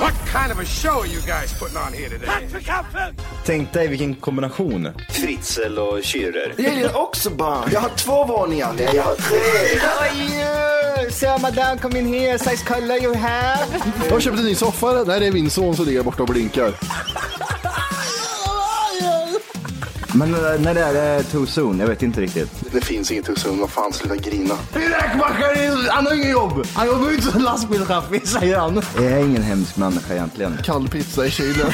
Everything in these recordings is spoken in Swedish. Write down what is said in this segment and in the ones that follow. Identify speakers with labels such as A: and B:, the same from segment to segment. A: What kind of a show are you guys putting on here today?
B: Tänk dig vilken kombination.
C: Fritzl och Schürrer.
D: Jag gillar också barn. Jag har två våningar. Nej, jag har tre.
B: How are you? Sir, madame, come in here. Size color you have.
E: Jag har köpt en ny soffa. Nej, det är min son som ligger borta och blinkar.
B: Men eh, när det är det too soon? Jag vet inte riktigt.
D: Det finns inget husum. Vad fan, sluta grina.
E: Min räkmackare, han har inget jobb. Han jobbar ju inte som lastbilschaffis, säger han.
B: Jag är ingen hemsk människa egentligen.
E: Kall pizza i kylen.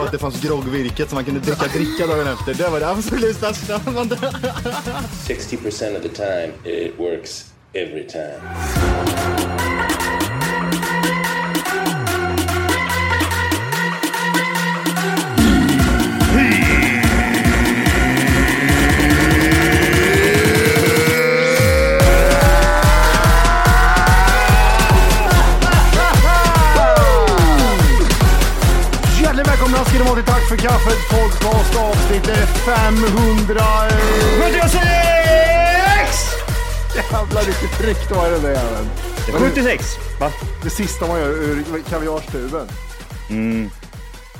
B: Och att det fanns groggvirket som man kunde dricka dricka dagen efter. Det var det absolut värsta.
C: 60% of the time, it works every time.
E: Hjärtligt välkomna ska ni vara till Tack för kaffet podcast avsnitt 500... eh,
B: 76!
E: Jävlar vilket tryck det var i den där jäveln.
B: 76! Va?
E: Det sista man gör ur kaviarstuben.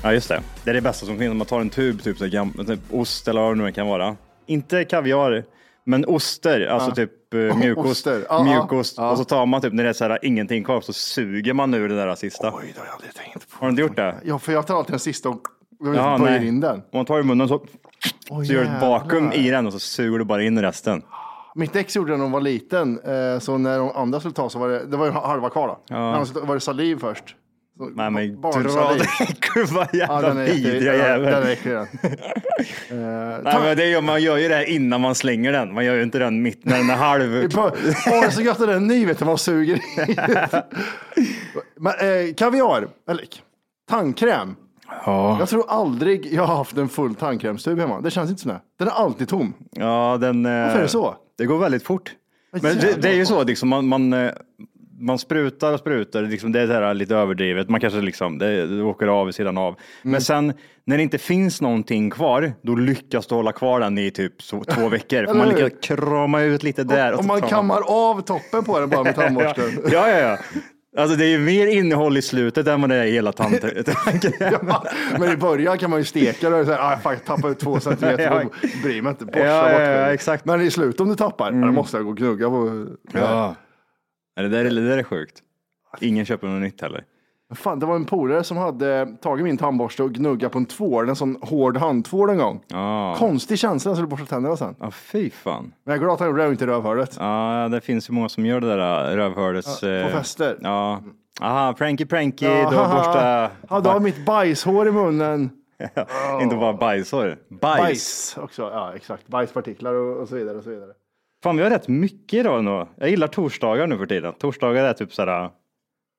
B: Ja, just det. Det är det bästa som finns om man tar en tub, typ, så här gam- typ ost eller vad det nu kan vara. Inte kaviar, men oster, alltså typ eh, mjukost.
E: oster. Ja,
B: mjukost.
E: ja, ja.
B: Och så tar man typ när det är så här, ingenting kvar så suger man ur det där sista.
E: Oj, det har jag aldrig tänkt på.
B: Har du inte gjort det?
E: Ja, för jag tar alltid den sista och
B: Ja,
E: böjer
B: nej.
E: in den.
B: Om man tar i munnen så,
E: Åh,
B: så gör du ett vakuum
E: jävlar.
B: i den och så suger du bara in resten.
E: Mitt ex gjorde det när hon var liten, eh, så när de andra skulle ta så var det, det var ju halva kvar då. När de skulle ta- var det saliv först. Så,
B: Nej men dra
E: barnsaliv.
B: det. Gud vad
E: Ja,
B: jävla
E: den är jätte-
B: vidriga
E: ja, Den är
B: jävel.
E: äcklig den. Eh,
B: Nej,
E: ta-
B: men det gör, man gör ju det här innan man slänger den. Man gör ju inte den mitt när den är halv.
E: Bara bara så gött att den är ny, vet du, man suger i. Men, eh, kaviar, eller tandkräm. Jag tror aldrig jag har haft en full tandkrämstub hemma. Det känns inte så. Den är alltid tom.
B: Ja, den, eh,
E: Varför är det så?
B: Det går väldigt fort.
E: Vad
B: Men det,
E: jävlar
B: det är ju
E: vad
B: så, liksom, man, man, eh, man sprutar och sprutar, liksom, det är så här lite överdrivet, man kanske liksom, det, det åker av vid sidan av.
E: Mm.
B: Men sen när det inte finns någonting kvar, då lyckas du hålla kvar den i typ så, två veckor. För man
E: hur?
B: lyckas krama ut lite där.
E: Om
B: så
E: man
B: kramar-
E: kammar av toppen på den bara med
B: ja,
E: tandborsten.
B: ja, ja, ja. Alltså det är ju mer innehåll i slutet än vad det är i hela tanten.
E: Ja, men i början kan man ju steka det och säga, ah, fuck, tappa ut två centimeter,
B: Ja.
E: ja. bryr mig inte, borsta
B: Ja,
E: bort
B: ja, ja,
E: det.
B: exakt.
E: Men i slut om du tappar, mm. då måste jag gå och gnugga på.
B: ja. Ja, Det, där, är- det där är sjukt. Ingen köper något nytt heller.
E: Fan, det var en polare som hade tagit min tandborste och gnuggat på en tvål, en sån hård handtvål en gång.
B: Ja.
E: Konstig känsla när du borsta tänderna sen.
B: Ja, fy fan.
E: Men jag är glad att han gjorde det och inte rövhålet.
B: Ja, det finns ju många som gör det där rövhålets...
E: på fester.
B: Ja. Aha, pranky pranky,
E: Ja,
B: du har
E: haha.
B: borsta...
E: Ja, du har mitt bajshår i munnen.
B: Inte bara bajsor. Bajs.
E: Bajs också, ja exakt. Bajspartiklar och, och så vidare. Och så vidare.
B: Fan, vi har rätt mycket idag ändå. Jag gillar torsdagar nu för tiden. Torsdagar är typ sådär...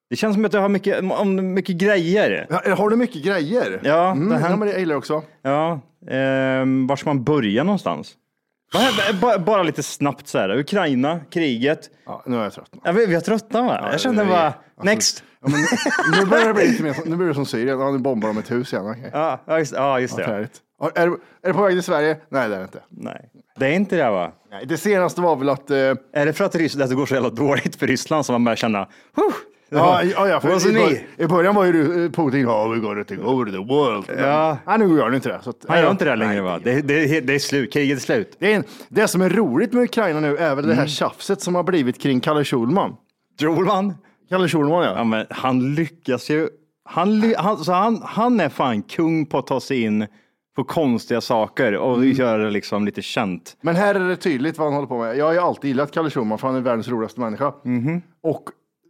B: Det känns som att jag har mycket, om, mycket grejer.
E: Ja, har du mycket grejer?
B: Ja,
E: mm,
B: det här-
E: ja men det jag gillar jag också.
B: Ja, ehm, var ska man börja någonstans? Bara, bara, bara lite snabbt så här. Ukraina, kriget.
E: Ja, nu är jag trött.
B: Ja, vi, vi har tröttnat va? jag kände
E: vi-
B: bara,
E: alltså-
B: next.
E: Ja, men nu- nu börjar det bli lite mer, nu blir det som Syrien, ja, nu bombar de ett hus igen. okej.
B: Ja, ja, just, ja, just det.
E: Träligt. Ja, är, det- är det på väg till Sverige? Nej, det är det inte.
B: Nej, det är inte det va?
E: Nej, det senaste var väl att eh,
B: Är det för att Ryssland, att det går så jävla dåligt för Ryssland som man börjar känna, "Huh,
E: Ja, ja, ja, för
B: Vad
E: i,
B: så ni?
E: bör- I början var ju du- eh, Putin, ja vi går to over the world. Men,
B: Ja.
E: Nej, nu gör han inte det. Så att,
B: Han gör inte det här
E: Nej,
B: längre va? Det, det, det är slut, kriget är slut.
E: Det, är en, det som är roligt med Ukraina nu är väl det
B: Mm.
E: här tjafset som har blivit kring Kalle Schulman.
B: Tror man?
E: Kalle Schulman ja.
B: Ja, men han lyckas ju. Han, ly- han, så han, han är fan kung på att ta sig in på konstiga saker och
E: Mm.
B: göra det liksom lite känt.
E: Men här är det tydligt vad han håller på med. Jag har ju alltid gillat Kalle Schulman för han är världens roligaste människa.
B: Mhm.
E: Och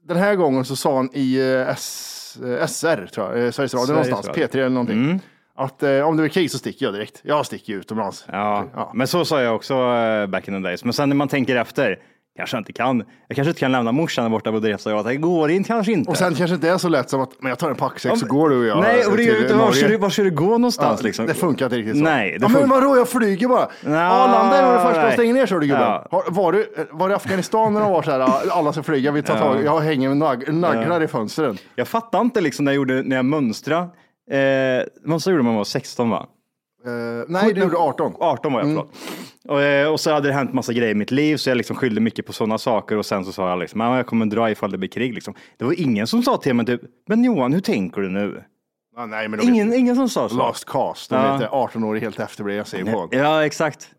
E: den här gången så sa han i eh, S, eh, SR, tror jag, eh, Sveriges Radio
B: Sveriges
E: någonstans,
B: Radio. Mm.
E: P3 eller någonting. Att eh, om det blir krig så sticker jag direkt. Jag sticker ju utomlands.
B: Ja, men så sa jag också eh, back in the days. Men sen när man tänker efter, kanske jag inte kan. Jag kanske inte kan lämna morsan där borta på Drevstad. Det går inte, kanske inte.
E: Och sen kanske inte är så lätt som att men jag tar en packsäck så
B: Om-
E: går du och jag
B: Nej, och det är ju
E: till
B: inte var
E: Norge.
B: ska du- var ska du gå någonstans
E: Ja,
B: liksom?
E: Det funkar inte riktigt så.
B: Nej, det
E: ja,
B: funkar-
E: men vadå, jag flyger bara.
B: Nå,
E: Arlanda är nog det första de
B: nej.
E: stänger ner, körde gubben.
B: Ja.
E: Har, var, du, var det Afghanistan när de var så här, "Ah, alla ska flyga, vi tar tag, jag hänger med nag- naglar i fönstren.
B: Jag fattar inte liksom när jag gjorde, när jag mönstrade. Eh, mönstrade gjorde man när man var 16 va?
E: Eh, nej, du gjorde 18.
B: 18 var jag,
E: Mm.
B: förlåt. Och, eh, och så hade det hänt massa grejer i mitt liv, så jag liksom skyllde mycket på sådana saker. Och sen så sa jag liksom, "Ja, jag kommer dra ifall det blir krig. Liksom. Det var ingen som sa till mig typ, men Johan, hur tänker du nu?
E: Ah, nej, men de
B: Ingen,
E: är
B: ingen som sa så.
E: Last cast, de
B: Ja.
E: är inte 18 år helt efterblivna, jag säger på.
B: Ja, exakt.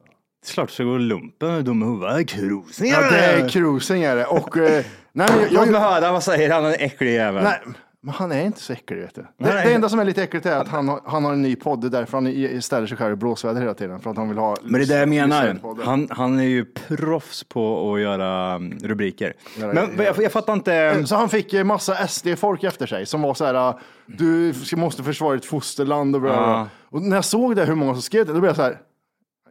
B: Klart så går lumpen, dum i huvudet, krusning.
E: Ja, det är cruising är det. Och, eh, nej, men jag,
B: Låt mig
E: jag,
B: höra, vad säger han, den äcklige jäveln?
E: nej, men han är inte så äcklig, vet du. Det,
B: Nej.
E: det enda som är lite äckligt är att han, har- han har en ny podd, det är därför han i- ställer sig själv i blåsväder hela tiden. För att han vill ha
B: Men det är det jag menar.
E: Lucien-podden.
B: Han, han är ju proffs på att göra mm, rubriker.
E: Göra-
B: Men men jag, jag fattar inte.
E: Så han fick eh, massa SD-folk efter sig som var så här, eh, du måste försvara ditt fosterland och bla bla, bla.
B: Ja.
E: Och när jag såg det, hur många som skrev det, då blev jag så här,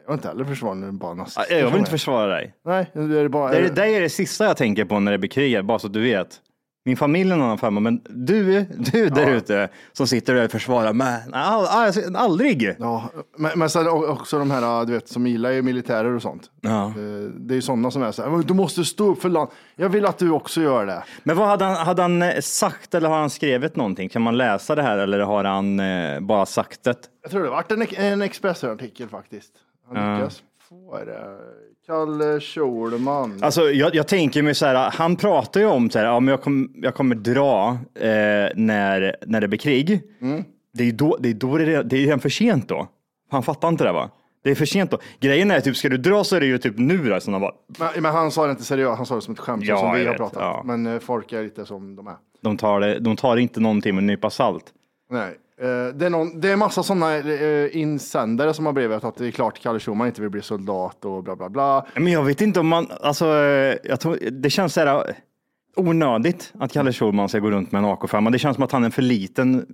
E: jag vill inte heller försvara när det bara är nazister.
B: Jag
E: som
B: vill
E: är.
B: inte försvara dig.
E: Nej, det är bara...
B: Det är, det är det sista jag tänker på när det blir krig, här, bara så att du vet. Min familj är en annan femma, men du, du där ute som sitter där och försvarar mig. All, all, aldrig!
E: Ja, men, men sen o- också de här, du vet, som gillar ju militärer och sånt.
B: Ja.
E: Eh, Det är ju sådana som är så här, "Men du måste stå upp för land. Jag vill att du också gör det.
B: Men vad hade han, hade han eh, sagt eller har han skrivit någonting? Kan man läsa det här eller har han eh, bara sagt det?
E: Jag tror det vart en, en Expressen-artikel faktiskt. Han lyckas få det. Kalle Schulman.
B: Alltså, jag, jag tänker mig så här, han pratar ju om så här, ja, men jag, kom, jag kommer dra eh, när, när det blir krig.
E: Mm.
B: Det är ju då, det är då det, är, det är redan för sent då. Han fattar inte det va? Det är för sent då. Grejen är typ, ska du dra så är det ju typ nu då. i sådana fall.
E: Men, men han sa det inte seriöst, han sa det som ett skämt så
B: Ja,
E: som vi
B: jag
E: har
B: vet,
E: pratat.
B: ja.
E: Men eh, folk är lite som de är.
B: De tar, det, de tar inte någonting med en nypa salt.
E: Nej. Eh, Det är, någon, det är massa sådana eh, insändare som har blivit att det är klart Kalle Schulman inte vill bli soldat och bla bla bla.
B: Men jag vet inte om man, alltså, eh, jag tror, det känns så här eh, onödigt att Kalle Schulman ska gå runt med en AK5. Det känns som att han är för liten.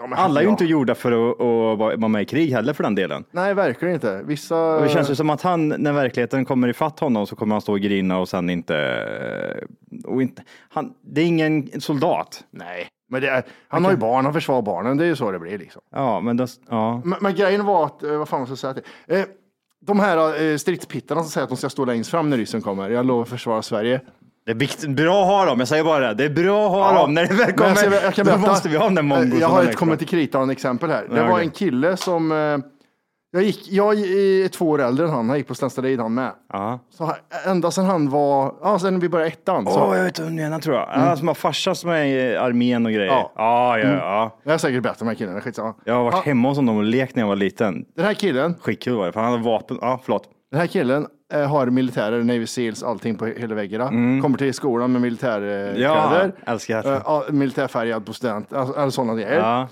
E: men-
B: Alla är ju
E: ja.
B: inte gjorda för att, att vara- vara med i krig heller för den delen.
E: Nej, verkligen inte. Vissa...
B: Och det känns ju som att han, när verkligheten kommer ifatt honom så kommer han stå och grina och sen inte... eh, Och inte han, det är ingen soldat.
E: Nej, men det är, han har ju barn, han försvarar barnen. Det är ju så det blir liksom.
B: Ja, men det, ja.
E: Men, men grejen var att, eh, vad fan ska jag säga till? Eh, de här eh, stridspittarna som säger att de ska stå längst fram när ryssen kommer. Jag lovar att försvara Sverige.
B: det är vikt, bra att ha dem, jag säger bara det. Det är bra att ha dem. När det väl
E: Men jag, ska-
B: kommer,
E: jag kan
B: då
E: berätta.
B: måste vi ha den där mongo
E: Eh, Jag
B: som
E: har
B: är
E: ett
B: kvar.
E: kommer till kritan exempel här. Det
B: Ja,
E: var
B: okej.
E: en kille som, eh, jag, gick, jag är två år äldre än han, han gick på Stenstarid han med.
B: Ja.
E: Så han- ända sedan han var, ja sen vi började ettan. Så,
B: Åh, jag vet vem du menar tror jag. Ja, som har farsa som är i armén och grejer. Mm. Ja, Mm.
E: Ja.
B: ja, ja.
E: Jag är säkert bättre än de här killarna, skitsamma.
B: Jag har varit
E: Han-
B: hemma hos honom och lekt när jag var liten.
E: Den här killen,
B: Skitkul var det, för han hade vapen. Ja, förlåt.
E: Den här killen eh, har militärer, Navy Seals, allting på hela väggarna. Kommer till skolan med militärkläder.
B: Mm.
E: Eh,
B: Ja, älskar.
E: militärfärgad på student, alltså, eller sådana grejer.
B: Eh, Ja.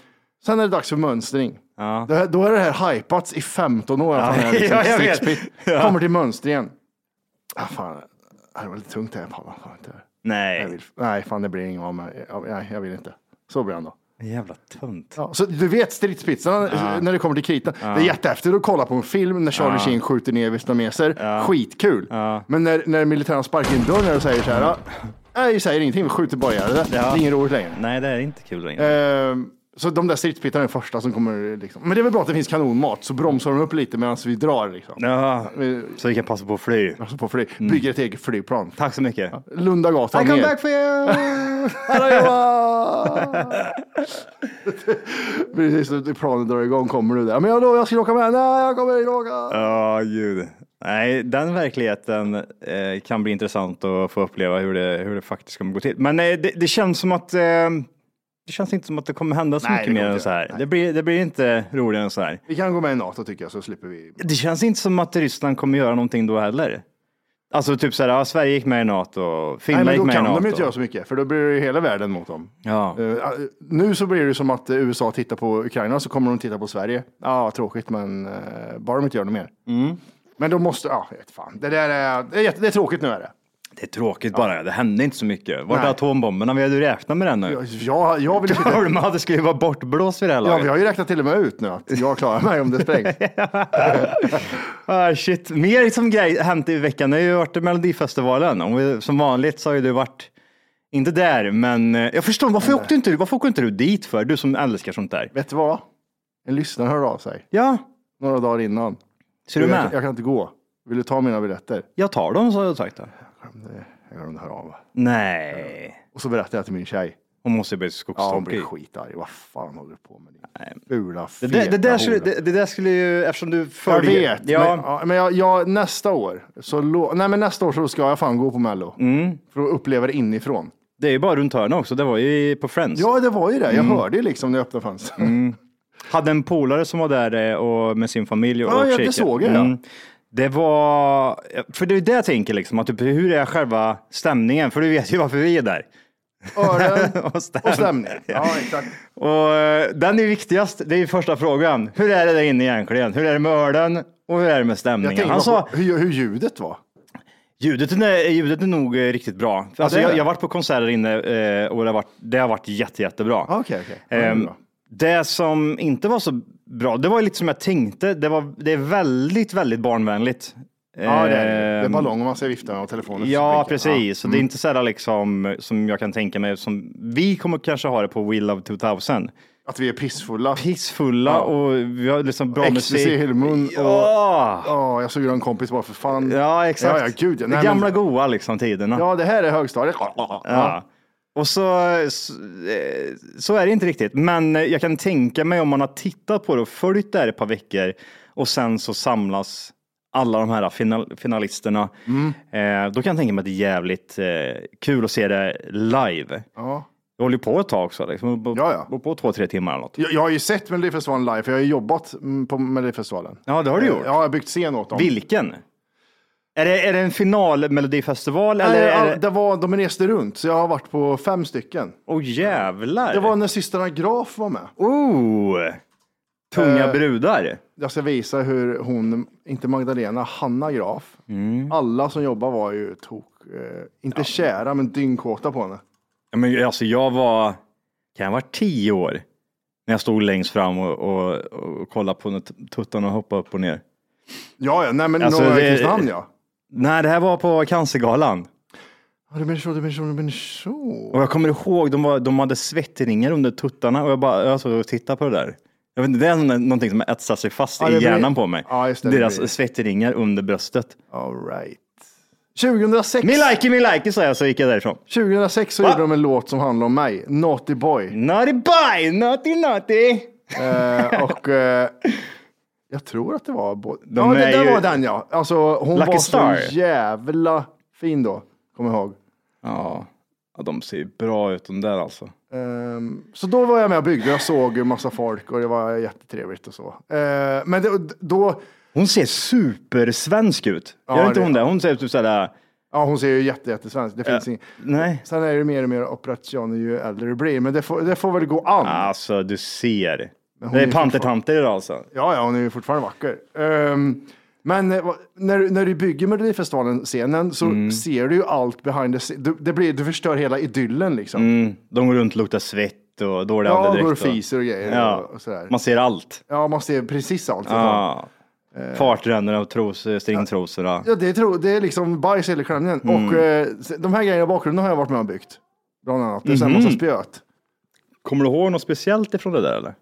E: Sen är det dags för mönstring.
B: Ja.
E: Det här, då är det här hypats i 15 år. Att han är liksom
B: Ja, jag vet.
E: stridsbit.
B: Ja.
E: Kommer till mönstringen. Ah, fan, det var lite tungt det här. Pallar fan inte det här. Jag
B: Nej.
E: vill, nej, fan det blir inget av mig. Jag- Nej, jag vill inte. Så blir han då.
B: Jävla tunt.
E: Ja, så du vet stridspizzan när det kommer till kritan. Det är jättehäftigt att kolla på en film när Charlie Sheen skjuter ner vietnameser. Skitkul. Men när, när militären sparkar in dörren och säger så här. "Ah, Nej, vi säger ingenting, vi skjuter bara ihjäl det. Det är inget roligt längre.
B: Nej, det är inte kul längre.
E: Ehm, så de där stridspizzorna är de första som kommer. Liksom. Men det är väl bra att det finns kanonmat, så bromsar de upp lite medan vi drar. Liksom.
B: Ja, så vi kan passa på att fly.
E: Alltså på fly- Bygger ett eget flygplan.
B: Tack så mycket.
E: Lundagatan
B: I come
E: ner.
B: back for you!
E: Precis när planet drar igång kommer du där. Men jag, då, jag ska åka med. Nej, jag kommer inte åka.
B: Ja, gud. Nej, den verkligheten eh, kan bli intressant att få uppleva hur det, hur det faktiskt kommer gå till. Men eh, det, det känns som att eh, det känns inte som att det kommer hända så
E: Nej, det
B: mycket
E: kommer
B: mer än
E: inte.
B: så här.
E: Nej.
B: Det blir, det blir inte roligare än så här.
E: Vi kan gå med i NATO tycker jag så slipper vi.
B: Det känns inte som att Ryssland kommer göra någonting då heller. Alltså typ så här, ja, Sverige gick med i NATO,
E: Nej,
B: Finland
E: men
B: gick
E: då
B: med i
E: kan
B: NATO.
E: de ju inte göra så mycket, för då blir det ju hela världen mot dem.
B: Ja.
E: Eh, nu så blir det ju som att eh, USA tittar på Ukraina så kommer de titta på Sverige. Ja, ah, tråkigt, men eh, bara de inte gör något mer.
B: Mm.
E: Men då måste, ja, jag vet fan. Det där är, det är, jätte, det är tråkigt nu är det.
B: Det är tråkigt bara, det hände inte så mycket. Vart är
E: Nej.
B: atombomberna? Vi hade ju räknat med den nu.
E: Jag, jag vill ju sitta,
B: Burma, det skulle ju vara bortblåst vid det här
E: ja,
B: laget.
E: vi har ju räknat till och med ut nu att jag klarar mig om det sprängs.
B: Ah, shit. Mer som grej hänt i veckan har ju varit Melodifestivalen. Och vi- som vanligt så har ju du varit, inte där, men eh, jag förstår, varför åkte inte du, varför åker inte du dit för? Du som älskar sånt där.
E: Vet du vad? En lyssnare hörde av sig
B: Ja,
E: några dagar innan.
B: ser du
E: jag, jag
B: med?
E: kan inte gå. Vill du ta mina biljetter?
B: Jag tar dem, så har jag sagt. Då.
E: Jag glömde höra av.
B: Nej,
E: Och så berättade jag till min tjej.
B: hon måste bli
E: Ja, hon
B: skogstokig.
E: blev skitarg. Vad fan håller du på med? Din fula,
B: det, där- det, där
E: feta
B: skulle,
E: hora.
B: det, det där skulle ju, eftersom du
E: Jag
B: följer.
E: vet, men,
B: Ja,
E: ja, men jag, jag, nästa år så lo, nej, men nästa år så ska jag fan gå på Mello. För att uppleva det inifrån.
B: det är ju bara runt hörnet också, det var ju på Friends.
E: Ja, det var ju det. Jag hörde ju liksom när jag öppnade fönstret.
B: Hade en polare som var där eh, och med sin familj och
E: Ja,
B: och
E: ja, det
B: kikade.
E: såg jag, ja.
B: Det var, för det är det jag tänker liksom, att typ, hur är själva stämningen? För du vet ju varför vi är där.
E: Öron
B: Och stäm-
E: och stämning. Ja, exakt.
B: Och eh, den är viktigast, det är ju första frågan. Hur är det där inne egentligen? Hur är det med ölen och hur är det med
E: Jag
B: stämningen? Alltså,
E: tänkte
B: Han sa,
E: på hur, hur ljudet var.
B: ljudet är, ljudet är nog eh, riktigt bra. Alltså,
E: det är
B: jag,
E: det.
B: jag har varit på konserter inne eh, och det har varit, det har varit jätte, jättebra.
E: Ah, Okej, okej. Ja, det är
B: Ehm,
E: bra.
B: det som inte var så bra, det var ju lite som jag tänkte. Det, var, det är väldigt, väldigt barnvänligt.
E: Ja, det är, det är
B: Ehm,
E: ballong och massa viftar och telefoner.
B: Ja,
E: som Mm. blinkar.
B: precis. Så det är inte så här liksom, som jag kan tänka mig. Som, vi kommer kanske ha det på Will of 2000.
E: Ja, att vi är pissfulla.
B: Pissfulla och vi har liksom bra
E: Ecstasy i
B: musik.
E: mun. Ja.
B: Ja,
E: ja, jag såg ju en kompis bara för fan.
B: ja, exakt.
E: Ja, ja, gud, ja. Nej,
B: De gamla
E: men-
B: goa liksom, tiderna.
E: Ja, det här är högstadiet. Ja.
B: Ja. Och så, så, eh, så är det inte riktigt. Men eh, jag kan tänka mig om man har tittat på det och följt det här ett par veckor och sen så samlas alla de här final, finalisterna.
E: Mm.
B: Eh, då kan jag tänka mig att det är jävligt eh, kul att se det live.
E: Ja.
B: Det håller ju på ett tag också. Liksom. På,
E: Ja, ja.
B: på, på två, tre timmar eller något.
E: Jag, jag har ju sett Melodifestivalen live, för jag har ju jobbat mm, på Melodifestivalen. Eh,
B: Ja, det har du gjort.
E: Ja, jag har byggt scen åt dem.
B: Eh, Vilken? Är det, är det en final Melodifestival?
E: Nej,
B: eller är
E: all-
B: det...
E: det var, de reste runt, så jag har varit på fem stycken.
B: Åh jävlar!
E: Det var när systrarna Graf var med.
B: Oh! Tunga
E: Eh,
B: brudar.
E: Jag ska visa hur hon, inte Magdalena, Hanna Graf.
B: Mm.
E: Alla som jobbar var ju tok, eh, inte kära, men dyngkåta på henne.
B: Ja, men alltså jag var, kan jag ha varit tio år? När jag stod längst fram och, och, och kollade på när t- tuttarna hoppa upp och ner.
E: Ja, ja, nej men
B: Alltså,
E: några
B: det-
E: i Kristinehamn ja.
B: Nej, det här var på Cancergalan.
E: Ja, Du menar så, du menar så, du menar så.
B: Och jag kommer ihåg, de, var, de hade svettringar under tuttarna och jag bara, jag stod och tittade på det där. Jag vet inte, det är någon- någonting som har etsat sig fast
E: Ja,
B: i
E: det blir-
B: hjärnan på mig.
E: Ja, just det, det
B: Deras
E: blir-
B: svettringar under bröstet.
E: All right. 2006,
B: Min likey, min likey sa jag så gick jag därifrån.
E: 2006 så
B: Va?
E: gjorde de en låt som handlade om mig, Naughty Boy.
B: Naughty boy, naughty naughty.
E: Eh, och eh, jag tror att det var både...
B: De
E: Ja, det
B: är
E: där
B: ju-
E: var den ja. Alltså hon
B: Lucky
E: var
B: Star.
E: så jävla fin då, kommer jag ihåg.
B: Ja, ja, de ser ju bra ut de där alltså.
E: Ehm, så då var jag med och byggde, jag såg ju massa folk och det var jättetrevligt och så. Eh, men det, då,
B: Hon ser supersvensk ut.
E: Ja,
B: Gör inte
E: det-
B: hon det? Hon ser typ sådär...
E: ja hon ser ju jätte, jättesvensk, det finns ing-
B: Nej.
E: Sen är det mer och mer operation ju äldre du blir, men det får, det får väl gå an.
B: Alltså, du ser.
E: Men hon
B: Det är
E: är
B: pantertanter idag alltså.
E: Ja, ja, hon är ju fortfarande vacker. Ehm, men eh, vad- när, du- när du bygger Melodifestivalen-scenen så ser du ju allt behind the scenes. Du, det blir, du förstör hela idyllen liksom.
B: De går runt och luktar svett och dålig
E: Ja,
B: andedräkt.
E: går och fiser och grejer
B: Ja.
E: och- och sådär.
B: Man ser allt.
E: Ja, man ser precis allt. Ja,
B: Ja. Fartränderna och tros, stringtrosorna.
E: ja det, är, tro- det är liksom bajs i hela klänningen. Och eh, de här grejerna i bakgrunden har jag varit med och byggt. Bland annat. Det är mm massa spöet.
B: Kommer du ihåg något speciellt ifrån det där eller?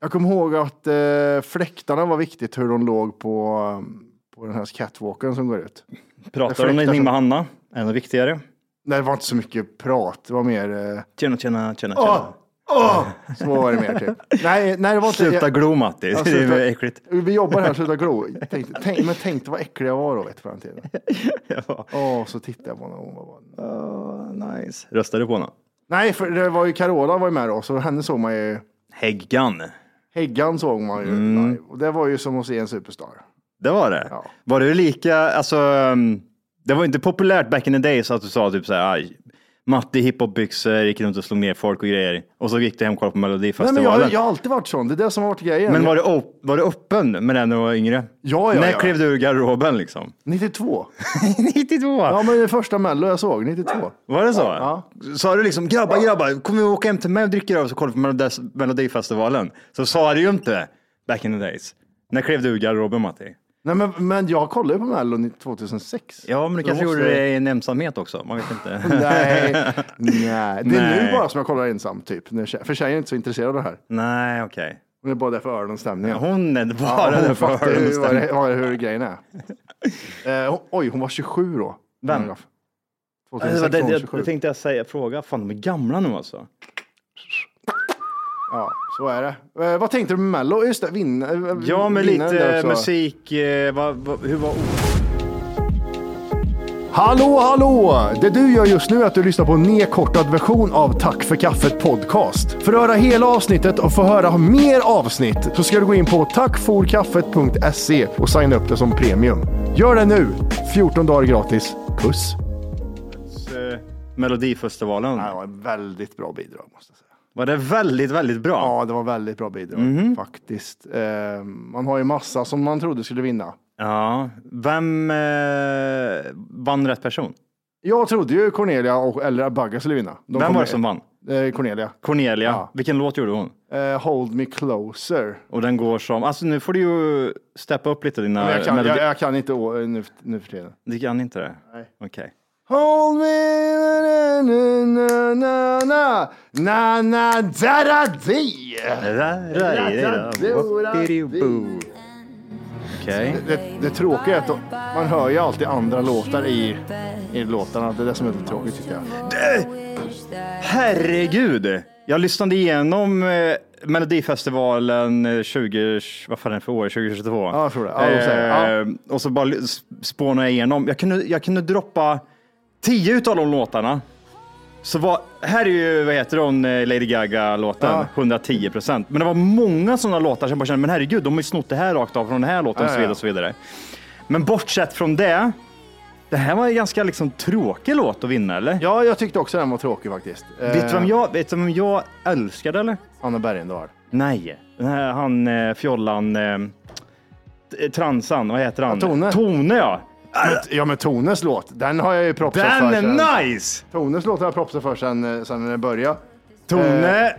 E: Jag kommer ihåg att eh, fläktarna var viktigt, hur de låg på, um, på den här catwalken som går ut.
B: Pratar
E: Jag
B: du om
E: fläktar
B: någonting
E: så-
B: med Hanna? Ännu viktigare.
E: Nej, det var inte så mycket prat, det var mer... Eh,
B: Tjena, tjena, tjena, tjena.
E: Åh, Åh! Så vad var det mer typ? Nej, nej det var inte...
B: Sluta glo Matti,
E: Ja,
B: det är
E: sluta-
B: väl äckligt.
E: Vi jobbar här, sluta glo. Tänk, tänk, men tänkte vad äcklig jag var då vet du, på den tiden.
B: Ja.
E: Åh, så tittade jag på henne. och hon var-
B: Åh, nice. Röstade du på honom?
E: Nej, för det var ju Carola var ju med då, så henne såg man ju.
B: Häggan.
E: Häggan såg man ju
B: Mm.
E: live. Och det var ju som att se en superstar.
B: Det var det.
E: Ja.
B: Var det lika, alltså, um, det var inte populärt back in the days att du sa typ så här, aj, Matti i hiphopbyxor, gick runt och slog ner folk och grejer. Och så gick du hem och kollade på
E: Nej, men
B: Melodifestivalen.
E: jag, har- jag har alltid varit sån. Det är det som har varit grejen.
B: Men var du, op- var du öppen med den när du var yngre?
E: Ja, ja,
B: När
E: ja.
B: klev du ur garderoben liksom?
E: 92.
B: 92?
E: Ja, men det första Mello jag såg, 92.
B: Var det så?
E: Ja.
B: Sa du liksom, grabbar, grabbar, kom vi åka hem till mig och dricka öl och så kollar vi på Melodis- Melodifestivalen? Så sa du ju inte back in the days. När klev du ur garderoben Matti?
E: Nej, men, men jag kollade ju på Mello 2006.
B: Ja, men du
E: Så
B: kanske
E: måste-
B: gjorde det i en ensamhet också. Man vet inte.
E: Nej, nej. Det är
B: Nej.
E: nu bara som jag kollar ensam, typ. När tje- För tjejen är inte så intresserad av det här.
B: Nej, okej.
E: Hon är bara där för öronens stämning.
B: Hon är
E: Ja,
B: bara där
E: hon
B: för
E: fattar ju vad
B: öronen.
E: det- vad- hur grejen är. Eh, hon- oj, hon var 27 då.
B: Vem?
E: Anagraf.
B: Det var
E: 2006 var
B: det
E: hon
B: jag- jag
E: 27.
B: tänkte jag säga, fråga. Fan, de är gamla nu
E: Mm,
B: alltså.
E: Ja, så är det. Eh, vad tänkte du med Mello? Just det, vinna. eh,
B: Ja, med
E: vinnaren där
B: lite
E: också.
B: musik. eh, vad- vad- Hur var
E: Hallå, hallå! Det du gör just nu är att du lyssnar på en nedkortad version av Tack för kaffet podcast. För att höra hela avsnittet och få höra mer avsnitt så ska du gå in på tackforkaffet.se och signa upp det som premium. Gör det nu! 14 dagar gratis. Puss!
B: eh, Melodifestivalen?
E: Det var ett väldigt bra bidrag måste jag säga.
B: Var det väldigt, väldigt bra?
E: Ja, det var väldigt bra bidrag faktiskt. Eh, man har ju massa som man trodde skulle vinna.
B: Ja. Vem eh, vann rätt person?
E: Jag trodde ju Cornelia och, eller Bagga skulle vinna. De
B: Vem
E: kom
B: var det
E: med.
B: som vann?
E: Eh, Cornelia.
B: Cornelia.
E: Ja.
B: Vilken låt gjorde hon?
E: Eh, Hold me closer.
B: Och den går som... Alltså nu får du ju steppa upp lite dina...
E: Men jag, kan, jag,
B: melodi-
E: jag kan inte å, nu, nu för tiden.
B: Du kan inte det? Nej. Okej.
E: Hold me na na na na na na da da di.
B: Okej.
E: Det, det tråkiga är att de, man hör ju alltid andra låtar i, i låtarna. Det är det som är lite tråkigt tycker jag.
B: Herregud! Jag lyssnade igenom eh, Melodifestivalen eh, 20, vad fan är det för år, 2022?
E: Ja, jag tror det. Ja, de säger det.
B: Eh, Och så bara ly- sp- spånade jag igenom. Jag kunde, jag kunde droppa tio utav de låtarna. Så var, här är ju, vad heter hon, eh, Lady Gaga-låten,
E: Ja.
B: 110 procent. Men det var många sådana låtar som jag bara kände, men herregud, de har ju snott det här rakt av från den här låten och så
E: Ja, ja,
B: vidare.
E: ja.
B: Och så vidare. Men bortsett från det, det här var ju ganska liksom tråkig låt att vinna, eller?
E: Ja, jag tyckte också den var tråkig faktiskt. Eh,
B: Vet du vem jag, vet du vem jag älskade eller?
E: Anna Bergendahl.
B: Nej. Den här, han eh, fjollan, eh, t- transan, vad heter han?
E: Ja, Tone.
B: Tone ja.
E: Ja, men Tones låt, den har jag ju propsat
B: Den
E: för. sen-
B: är nice!
E: Tones låt har jag propsat för sen, eh, sen när den började.
B: Tone,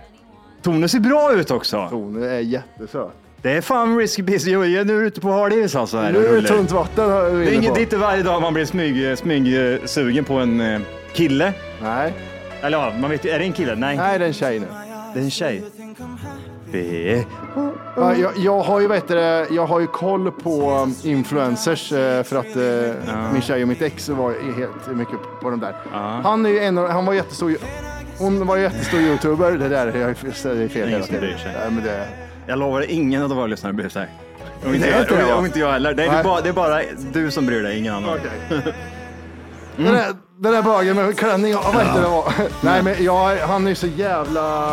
B: Tone ser bra ut också.
E: Tone är jättesöt.
B: Det är fan risky business. Jo, jag- Nu är du ute på hal is alltså. Här,
E: Nu
B: och
E: är det
B: rullar.
E: tunt vatten. har vi
B: det är
E: inne
B: inget
E: på.
B: det är inte varje dag man blir smyg, smyg, eh, sugen på en eh, kille.
E: Nej.
B: Eller ja, man vet ju- är det en kille? Nej,
E: Nej, det är en tjej nu.
B: det är en tjej. Det är...
E: Ja, jag, jag, har ju, vet du, det, jag har ju koll på um, influencers eh, för att eh, min tjej och mitt ex var ju helt mycket på de där. Han, är ju en, av- han var jättestor, hon var ju jättestor youtuber. Det där jag, det är fel
B: ingen
E: hela
B: som
E: tiden.
B: bryr sig.
E: Nej, men det,
B: Jag lovar ingen av våra lyssnare bryr sig. Om inte,
E: Det är
B: jag,
E: inte
B: om,
E: jag.
B: om inte jag heller. Nej, det, är
E: Nej.
B: bara, det är bara du som bryr dig, ingen annan.
E: Den där, den där bögen med klänning, och- vad hette det var? Nej men jag, han är ju så jävla...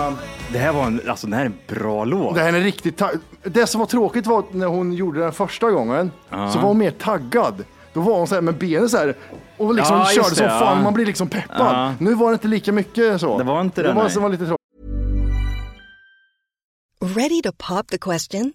B: Det här var en, alltså, det här är en bra låt.
E: Det här är riktigt ta- Det som var tråkigt var att när hon gjorde den första gången så var hon mer taggad. Då var hon så här med benen så här och liksom
B: Ja, just
E: körde
B: det,
E: som
B: ja.
E: fan, man blir liksom peppad.
B: Ja.
E: Nu var det inte lika mycket så.
B: Det var inte det,
E: det var,
B: nej.
E: som var lite tråkigt.
F: Ready to pop the question?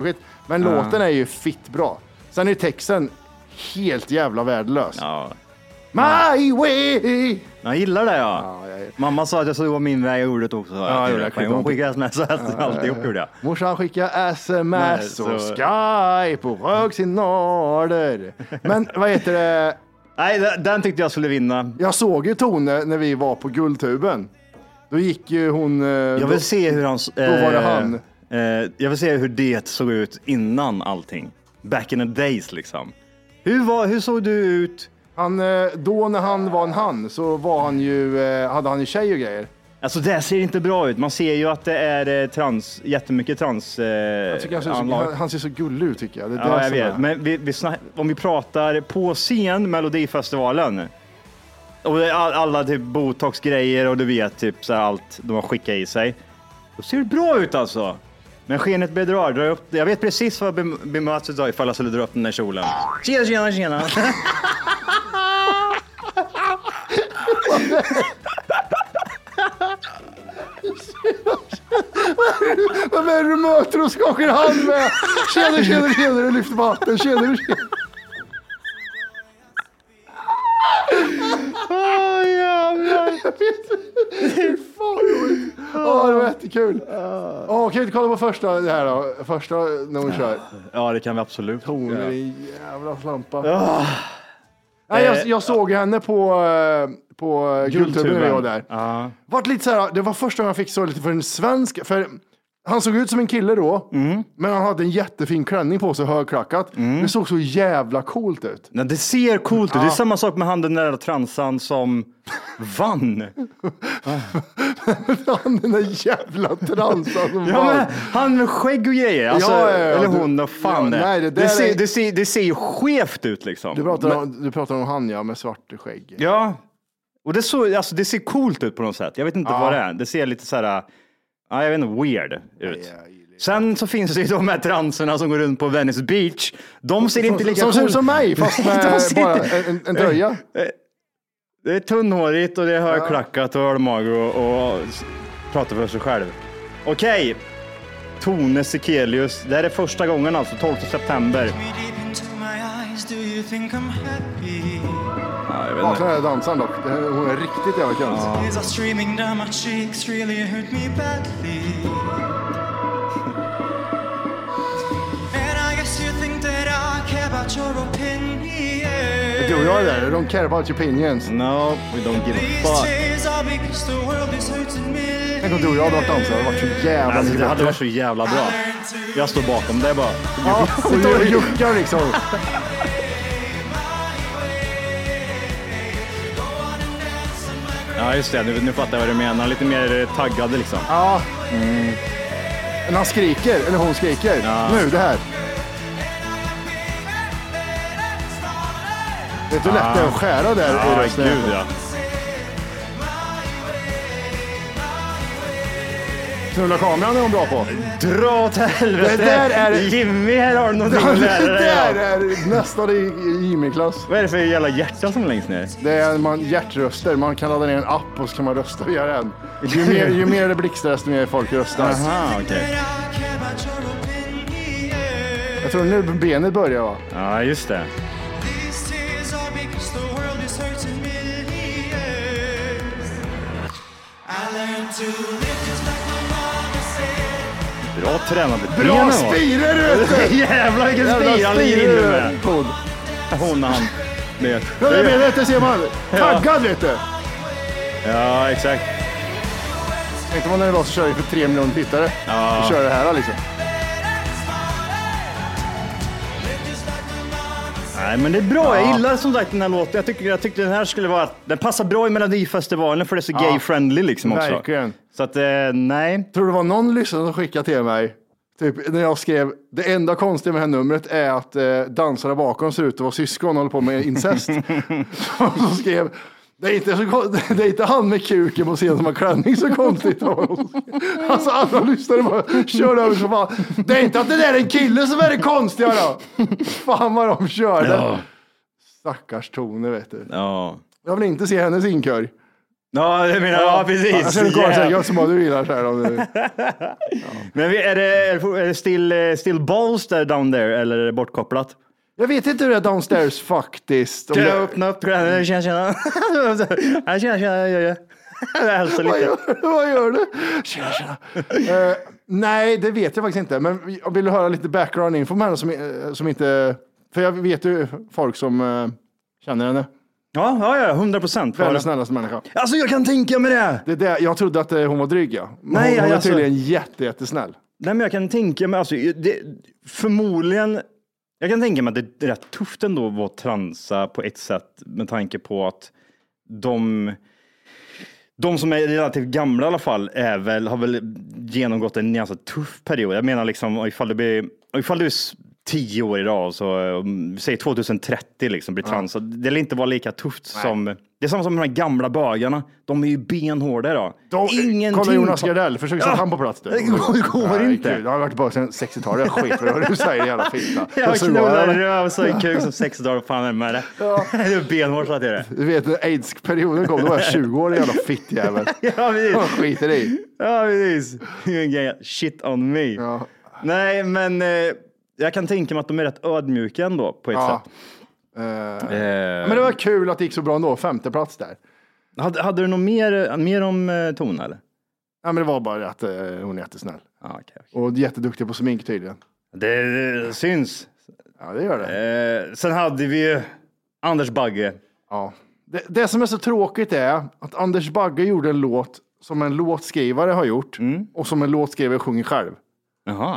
E: Skit. Men
B: Ja.
E: låten är ju fitt bra. Sen är ju texten helt jävla värdelös. My way!
B: Jag gillar det ja. Mamma sa att jag skulle gå min väg, jag gjorde det också.
E: Ja, jag gjorde det.
B: Hon skickade sms och alltihop gjorde jag.
E: Morsan skickar
B: Nej,
E: sms
B: så-
E: och skype och röksignaler. Men vad heter det?
B: Nej, den tyckte jag skulle vinna.
E: Jag såg ju Tone när vi var på Guldtuben. Då gick ju hon... eh,
B: Jag vill se hur han...
E: Då var det han.
B: Eh, jag vill se hur det såg ut innan allting. Back in the days liksom. Hur, var, hur såg du ut?
E: Han, eh, då när han var en han så var han ju, eh, hade han ju tjej och grejer.
B: Alltså det ser inte bra ut. Man ser ju att det är eh, trans, jättemycket trans... Eh,
E: Jag tycker han, ser så,
B: anlag.
E: han, han ser så gullig ut tycker jag. Det är
B: Ja,
E: det
B: jag
E: som
B: vet.
E: är-
B: Men vi, vi snack, om vi pratar på scen, Melodifestivalen. Och det är all, alla typ botox-grejer och du vet typ så här allt de har skickat i sig. Då ser det bra ut alltså. Men skenet bedrar. Dra upp, jag vet precis vad jag bem- bemöts av ifall jag skulle dra upp den där kjolen. Tjena, tjena, tjena.
E: Vem är det du möter och skakar hand med? Tjenare, tjenare, tjenare, och lyfter på hatten. Tjenare, tjenare.
B: Åh jävlar.
E: Jag vet inte. Fy fan vad roligt. Ja, det var jättekul. Åh, kan vi inte kolla på första det här då? Första när hon kör.
B: Ja, det kan vi absolut.
E: Hon är
B: göra.
E: en jävla slampa.
B: Ah.
E: Nej,
B: Eh,
E: jag, jag såg henne på, eh, på eh, Guldtuben när jag var där.
B: Ja.
E: Vart lite så här, det var första gången jag fick så lite för en svensk. För han såg ut som en kille då,
B: Mm.
E: men han hade en jättefin klänning på sig, högklackat. Det såg så jävla coolt ut.
B: Nej, det ser coolt ut. Det är samma sak med han den där transan som vann.
E: han den där jävla transan som
B: Ja,
E: var-
B: men han med skägg och grejer. Alltså,
E: Ja, ja, ja.
B: eller
E: Du-
B: hon, vad fan
E: ja,
B: det är.
E: nej, det
B: det,
E: där
B: ser,
E: är-
B: det, ser, det ser ju skevt ut liksom.
E: Du pratar,
B: Men-
E: om, du pratar om han ja, med svart skägg.
B: Ja, och det, så, alltså, det ser coolt ut på något sätt. Jag vet inte
E: Ja.
B: vad det är. Det ser lite så här, ja, jag vet inte, weird ut. Sen så finns det ju de här transerna som går runt på Venice Beach. De ser inte lika
E: som ser ut som mig, fast med
B: De ser
E: bara
B: inte-
E: en, en tröja.
B: Det är tunnhårigt och det är högklackat och ölmage och, och s- pratar för sig själv. Okej, Tone Sekelius. Det här är första gången alltså, 12 september. Ja, jag vet
E: Vakna
B: inte.
E: den här dansaren dock. Det här- Hon är riktigt jävla konstig. Du och jag är där. Don't care about your opinions.
B: No, we don't give a fuck.
E: Tänk om du och jag hade varit dansare. Det hade varit så jävla
B: Alltså,
E: mycket
B: det hade
E: bättre.
B: varit så jävla bra. Jag står bakom det bara.
E: Ja, sitter och juckar liksom.
B: Ja, just det. Nu, nu fattar jag vad du menar. Lite mer eh, taggade liksom.
E: Ja. Men han skriker, eller hon skriker. Nu, det här. Vet du hur lätt det är att skära där i
B: Ja,
E: rösten?
B: gud ja.
E: Knulla kameran är hon bra på.
B: Dra åt helvete!
E: Det där är-
B: Jimmy, här har du någonting att lära
E: Det där
B: dig. av.
E: är nästan i i Jimmy-klass.
B: Vad är det för jävla hjärta som är längst ner?
E: Det är man hjärtröster. Man kan ladda ner en app och så kan man rösta via den. Ju mer, ju mer det blixtrar desto mer folk röstar.
B: Aha, okej.
E: Jag tror nu benet börjar va?
B: Ja, just det. Bra tränade
E: Bra
B: va?
E: spirer du!
B: Jävlar vilken spir han ligger inne med. Hon och han. Vet.
E: Ja, det benet, det ser man. Taggad vet du!
B: Ja, exakt.
E: Tänk om man är någon som kör för tre miljoner tittare och kör det här liksom.
B: Nej, men det är bra. Jag gillar som sagt den här låten. Jag tyckte, jag tyckte den här skulle vara... Den passar bra i Melodifestivalen för det är så gay-friendly liksom också.
E: Verkligen.
B: Så att, eh, nej.
E: Tror du det var någon lyssnare som skickade till mig? Typ när jag skrev, det enda konstiga med det här numret är att eh, dansarna bakom ser ut att vara syskon och håller på med incest. Och så skrev, det är, inte så, kon- det är inte han med kuken på scenen som har klänning så konstigt. Alltså alla lyssnare bara körde över så fan. Det är inte att det där är en kille som är det konstiga då. Fan vad de körde.
B: Ja.
E: Stackars Tone vet du.
B: Ja.
E: Jag vill inte se hennes inkör.
B: Ja, det menar Alltså, jag. Ja, precis.
E: Alltså, Jag ser kolla så här,
B: Yeah.
E: gör som du gillar så här. om du-
B: Men är det, är det for- är det still, eh, still balls där down there eller är det bortkopplat?
E: Jag vet inte hur det är downstairs faktiskt. Om
B: Kan jag
E: det-
B: öppna upp? Tjena, tjena. Tjena, Ja, tjena. tjena ja, ja. Jag hälsar
E: Vad
B: lite.
E: gör, vad gör du? Tjena, tjena. Eh, nej, det vet jag faktiskt inte. Men jag vill höra lite background info om henne som, eh, som inte... För jag vet ju folk som eh, känner henne.
B: Ja, ja, ja, 100 procent.
E: Världens snällaste människa.
B: Alltså, jag kan tänka mig det.
E: Det är det, jag trodde att eh, hon var dryg, ja. Men
B: Nej,
E: hon, hon
B: alltså-
E: är tydligen jätte, jättesnäll.
B: Nej, men jag kan tänka mig, alltså, det, förmodligen, jag kan tänka mig att det är rätt tufft ändå att vara transa på ett sätt med tanke på att de, de som är relativt gamla i alla fall är väl, har väl genomgått en ganska tuff period. Jag menar liksom ifall du blir, ifall du är s- tio år idag, så, um, säg 2030 liksom, blir trans, så det lär inte vara lika tufft som, det är samma som med de här gamla bögarna, de är ju benhårda idag.
E: De, kolla Jonas
B: på-
E: Gardell, försök sätta
B: Ja.
E: han på plats. du.
B: Det går- det går
E: Nej,
B: inte.
E: gud, Jag har varit tillbaka sedan 60-talet, jag skiter i vad du säger jävla fitta.
B: Jag
E: Så var
B: knullar
E: jag.
B: röv så en kuk som sex dagar, fan är det med det? Det är benhårt så att det är det.
E: Du vet när aids-perioden kom, då var jag 20 år, jävla fittjävel.
B: Ja,
E: Jag
B: precis.
E: skiter i.
B: Ja, precis. You get Shit on me. Nej, men eh, jag kan tänka mig att de är rätt ödmjuka ändå på ett
E: Ja.
B: sätt.
E: Eh,
B: Eh,
E: Men det var kul att det gick så bra ändå, femte plats där.
B: hade, hade du något mer, mer om eh, Tone eller?
E: Ja, men det var bara att eh, hon är jättesnäll.
B: Ah, okay, okay.
E: Och jätteduktig på smink tydligen.
B: Det, det syns.
E: Ja, det gör det.
B: Eh, sen hade vi ju Anders Bagge.
E: Ja. Det, det som är så tråkigt är att Anders Bagge gjorde en låt som en låtskrivare har gjort
B: Mm.
E: och som en låtskrivare sjunger själv.
B: Jaha.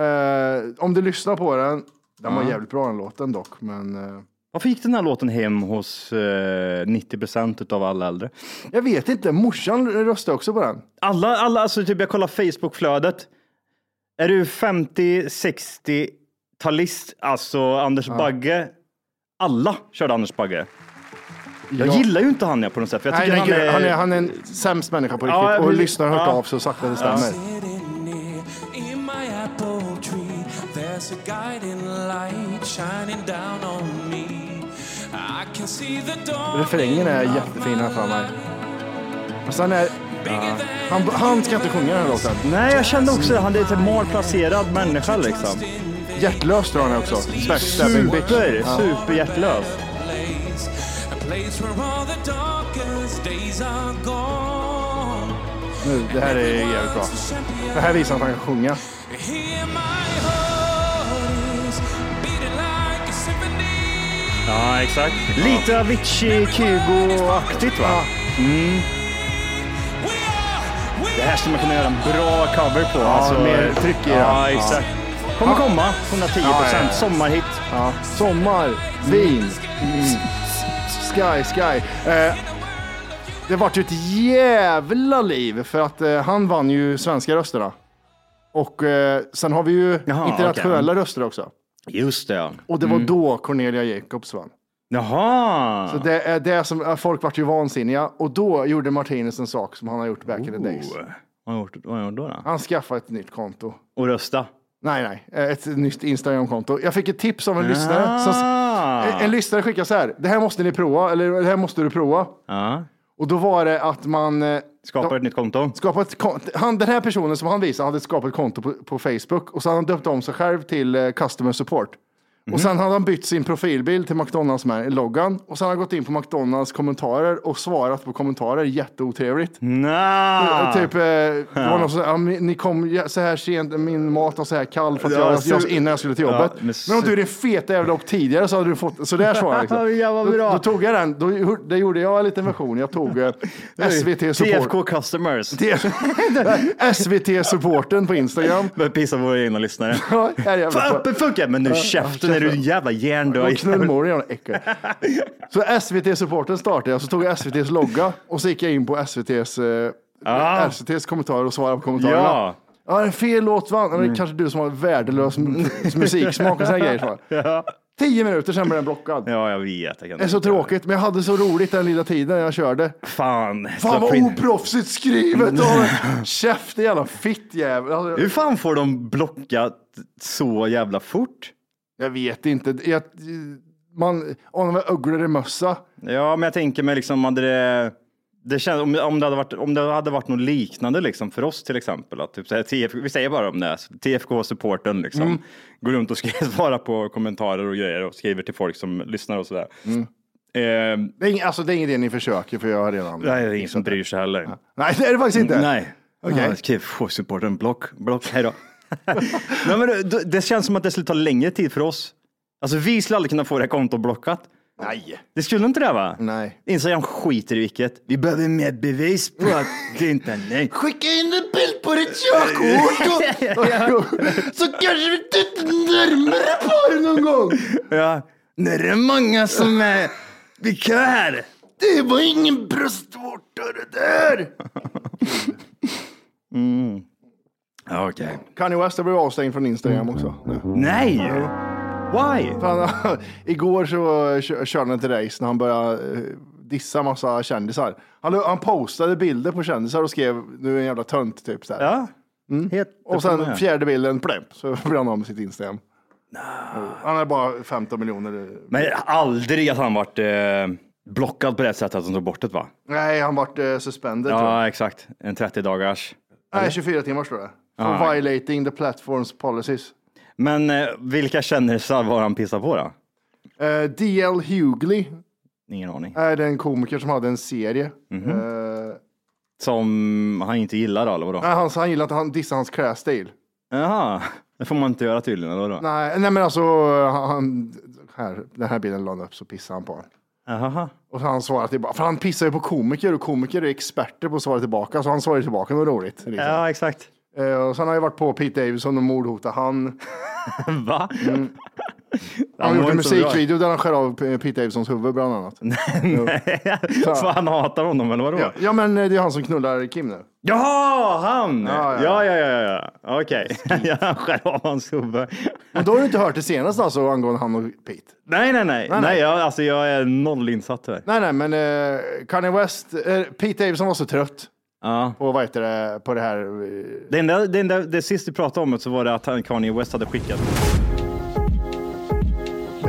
E: Eh, om du lyssnar på den, den var jävligt bra den låten dock, men eh,
B: Varför gick den här låten hem hos eh, 90 procent av alla äldre?
E: jag vet inte, morsan röstade också på den.
B: Alla, alla, alltså typ jag kollar Facebookflödet. Är du 50-60-talist, alltså Anders Bagge? Alla körde Anders Bagge. Jag
E: Ja.
B: gillar ju inte han jag på något sätt. För jag
E: Nej,
B: tycker
E: nej,
B: han, är...
E: han, är, han är en sämst människa på riktigt
B: Ja,
E: och
B: precis.
E: lyssnar har hört
B: Ja.
E: av sig och sagt att det stämmer.
G: Sitting near in my apple tree, there's a guiding light shining down on me. I can see the dawn.
E: Refrängen är jättefin här för mig. Och sen Alltså, är... Han, han ska inte sjunga den här låten.
B: Nej, jag kände också att han är en malplacerad människa liksom.
E: Hjärtlös drar han också. Backstabbing bitch.
B: Super,
E: Ja.
B: superhjärtlös.
G: place, a place where all the darkest days are gone.
E: Nu, det här är jävligt bra. Det här visar att han kan sjunga.
G: Here my heart is beating like a symphony.
B: Ja, exakt. Lite Avicii, Kygo-aktigt va? Mm. Det här skulle man kunna göra en bra cover på. Ja,
E: mer tryck i det.
B: Ja, exakt. Kommer komma, 110
E: Ja, ja,
B: procent.
E: ja.
B: Sommarhit.
E: Ja. Sommar, vin, mm. sky, sky. Eh, det vart ju ett jävla liv för att eh, han vann ju svenska rösterna. Och eh, sen har vi ju
B: Jaha,
E: internationella
B: okej. Mm.
E: röster också.
B: Just det, ja.
E: Och det var då Cornelia Jacobs vann.
B: Jaha!
E: Så det är det som, eh, folk vart ju vansinniga och då gjorde Martinez en sak som han har gjort back in the days.
B: Oh. Vad har han gjort vad har han gjort då? då?
E: Han skaffade ett nytt konto.
B: Och rösta.
E: Nej, nej, eh, ett nytt Instagram-konto. Jag fick ett tips av en lyssnare.
B: Ah.
E: Som, en, en lyssnare skickade så här, det här måste ni prova, eller det här måste du prova.
B: Ja.
E: Och då var det att man... eh,
B: Skapar
E: de-
B: ett nytt konto.
E: skapade ett konto. Han, den här personen som han visade hade skapat ett konto på, på Facebook och så hade han döpt om sig själv till eh, Customer Support. Och sen hade han bytt sin profilbild till McDonalds med loggan och sen har han gått in på McDonalds kommentarer och svarat på kommentarer jätteotrevligt.
B: Nja!
E: Typ, eh, det var någon som sa, "Ja, men ni kom jä- så här sent, min mat var så här kall för att
B: Ja,
E: jag,
B: så-
E: jag, innan jag skulle till
B: Ja,
E: jobbet.
B: men
E: men, om
B: så-
E: du är din feta jävla och tidigare så hade du fått, så där svarade jag. Liksom.
B: Ja, vad bra.
E: Då, då tog jag den, då, gjorde- där gjorde jag en liten version, jag tog eh, SVT Support.
B: TFK Customers.
E: SVT-supporten på Instagram.
B: Börjar pissa på våra egna lyssnare.
E: Ja, det är jävla
B: Fan,
E: bra.
B: öppen funkar! Men nu käften, är du en jävla
E: Och
B: hjärndöd?
E: knullmor i jävla äckel. Så SVT-supporten startade jag, så tog jag SVTs logga och så gick jag in på SVTs, eh,
B: Ah.
E: SVTs kommentarer och svarade på kommentarerna.
B: Ja.
E: Ja, en fel låt vann. Ja,
B: Mm.
E: men det är kanske du som har värdelös m- musiksmak och sådana grejer. Så.
B: Ja.
E: Tio minuter, sen blev den blockad.
B: Ja, jag vet. Jag kan
E: Det är så tråkigt, men jag hade så roligt den lilla tiden jag körde.
B: Fan.
E: Fan vad
B: Slå in.
E: oproffsigt
B: Mm.
E: skrivet! av- Käften jävla fittjävel. Alltså,
B: Hur fan får de blockat så jävla fort?
E: Jag vet inte. Jag, man anar ugglor i mössa.
B: Ja, men jag tänker mig liksom, hade det, det känns, om, om, det hade varit, om det hade varit något liknande liksom för oss till exempel, att typ så här, TF, vi säger bara om det, TFK-supporten liksom,
E: Mm.
B: går runt och skriver, svarar på kommentarer och grejer och skriver till folk som lyssnar och sådär.
E: Mm.
B: Eh,
E: Det är, ing- alltså, det är ingen idé ni försöker, för jag har redan...
B: nej, det är ingen som bryr sig heller.
E: Nej, det är det faktiskt inte.
B: Nej.
E: Okej.
B: Ja, TFK-supporten, block, block, hej då. nej, men det, det känns som att det skulle ta längre tid för oss. Alltså vi skulle aldrig kunna få det här kontot blockat.
E: Nej.
B: Det skulle inte det va?
E: Nej.
B: Instagram skiter i vilket. Vi behöver mer bevis på att det inte är nej.
D: Skicka in en bild på ditt körkort och- så kanske vi tittar närmare på det någon gång.
B: Ja. Nu är det många som är bekär.
D: Det var ingen bröstvårta det där.
B: Mm. Ja, Okej.
E: Kanye West har blivit avstängd från Instagram också.
D: Mm.
B: Nej! Why?
E: Mm. Fan, igår så kö- körde han ett race när han började eh, dissa massa kändisar. Han, han postade bilder på kändisar och skrev du är en jävla tönt typ. Så här.
B: Ja. Helt
E: Mm. Och sen
B: med.
E: fjärde bilden, plämp, så blir han av med sitt Instagram. Han är bara 15 miljoner.
B: Men aldrig att han varit eh, blockad på det sättet att han tog bort det va?
E: Nej, han vart eh, suspended. tror jag.
B: Ja, exakt. En 30 dagars.
E: Nej, 24 timmar tror jag. For
B: Ja.
E: violating the platforms policies.
B: Men eh, vilka kändisar var han pissad på då?
E: Eh, DL Hughley
B: Ingen aning.
E: är den komiker som hade en serie.
B: Mhm.
E: Eh,
B: Som han inte gillar då, eller vadå?
E: nej, han, han gillade att han dissade hans klädstil.
B: Jaha, det får man inte göra tydligen, eller vadå?
E: Nej, nej men alltså, han, här, den här bilden la han upp så pissade han på honom.
B: Jaha.
E: Och så han svarade tillbaka, för han pissar ju på komiker och komiker är experter på att svara tillbaka, så han svarade tillbaka, det var roligt. Liksom.
B: Ja, exakt.
E: Eh, och sen har jag varit på Pete Davidson och mordhotat han.
B: Va?
E: Mm. Han har gjort
B: mår
E: en
B: inte så bra.
E: musikvideo där han skär av P- Pete Davidsons huvud bland annat.
B: Så han hatar honom, eller vadå?
E: Ja, ja men eh, det är han som knullar Kim nu.
B: Jaha, han!
E: Ja,
B: Ja,
E: ja.
B: ja, ja. ja, ja. Okej. Jag skär av hans huvud.
E: Men då har du inte hört det senaste alltså angående han och Pete?
B: Nej, nej, nej.
E: nej.
B: nej jag, alltså, jag är noll insatt här.
E: Nej, nej, men eh, Kanye West, eh, Pete Davidson var så trött
B: Ja.
E: på, vad heter det, på det här. eh,
B: Det, enda, det, enda, det sista vi pratade om så var det att han, Kanye West hade skickat.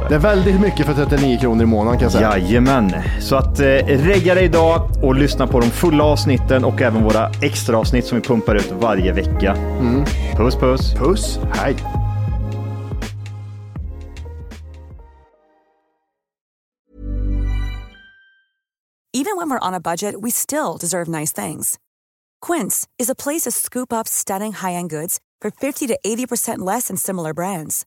E: Det
B: det.
E: är väldigt mycket för 39 kronor i månaden kan jag säga.
B: Jajamän, så att eh, regga dig idag och lyssna på de fulla avsnitten och även våra extra avsnitt som vi pumpar ut varje vecka.
E: Mm.
B: Puss puss!
E: Puss, hej!
H: Even when we're on a budget, we still deserve nice things. Quince is a place to scoop up stunning high end goods for 50 to 80% less than similar brands.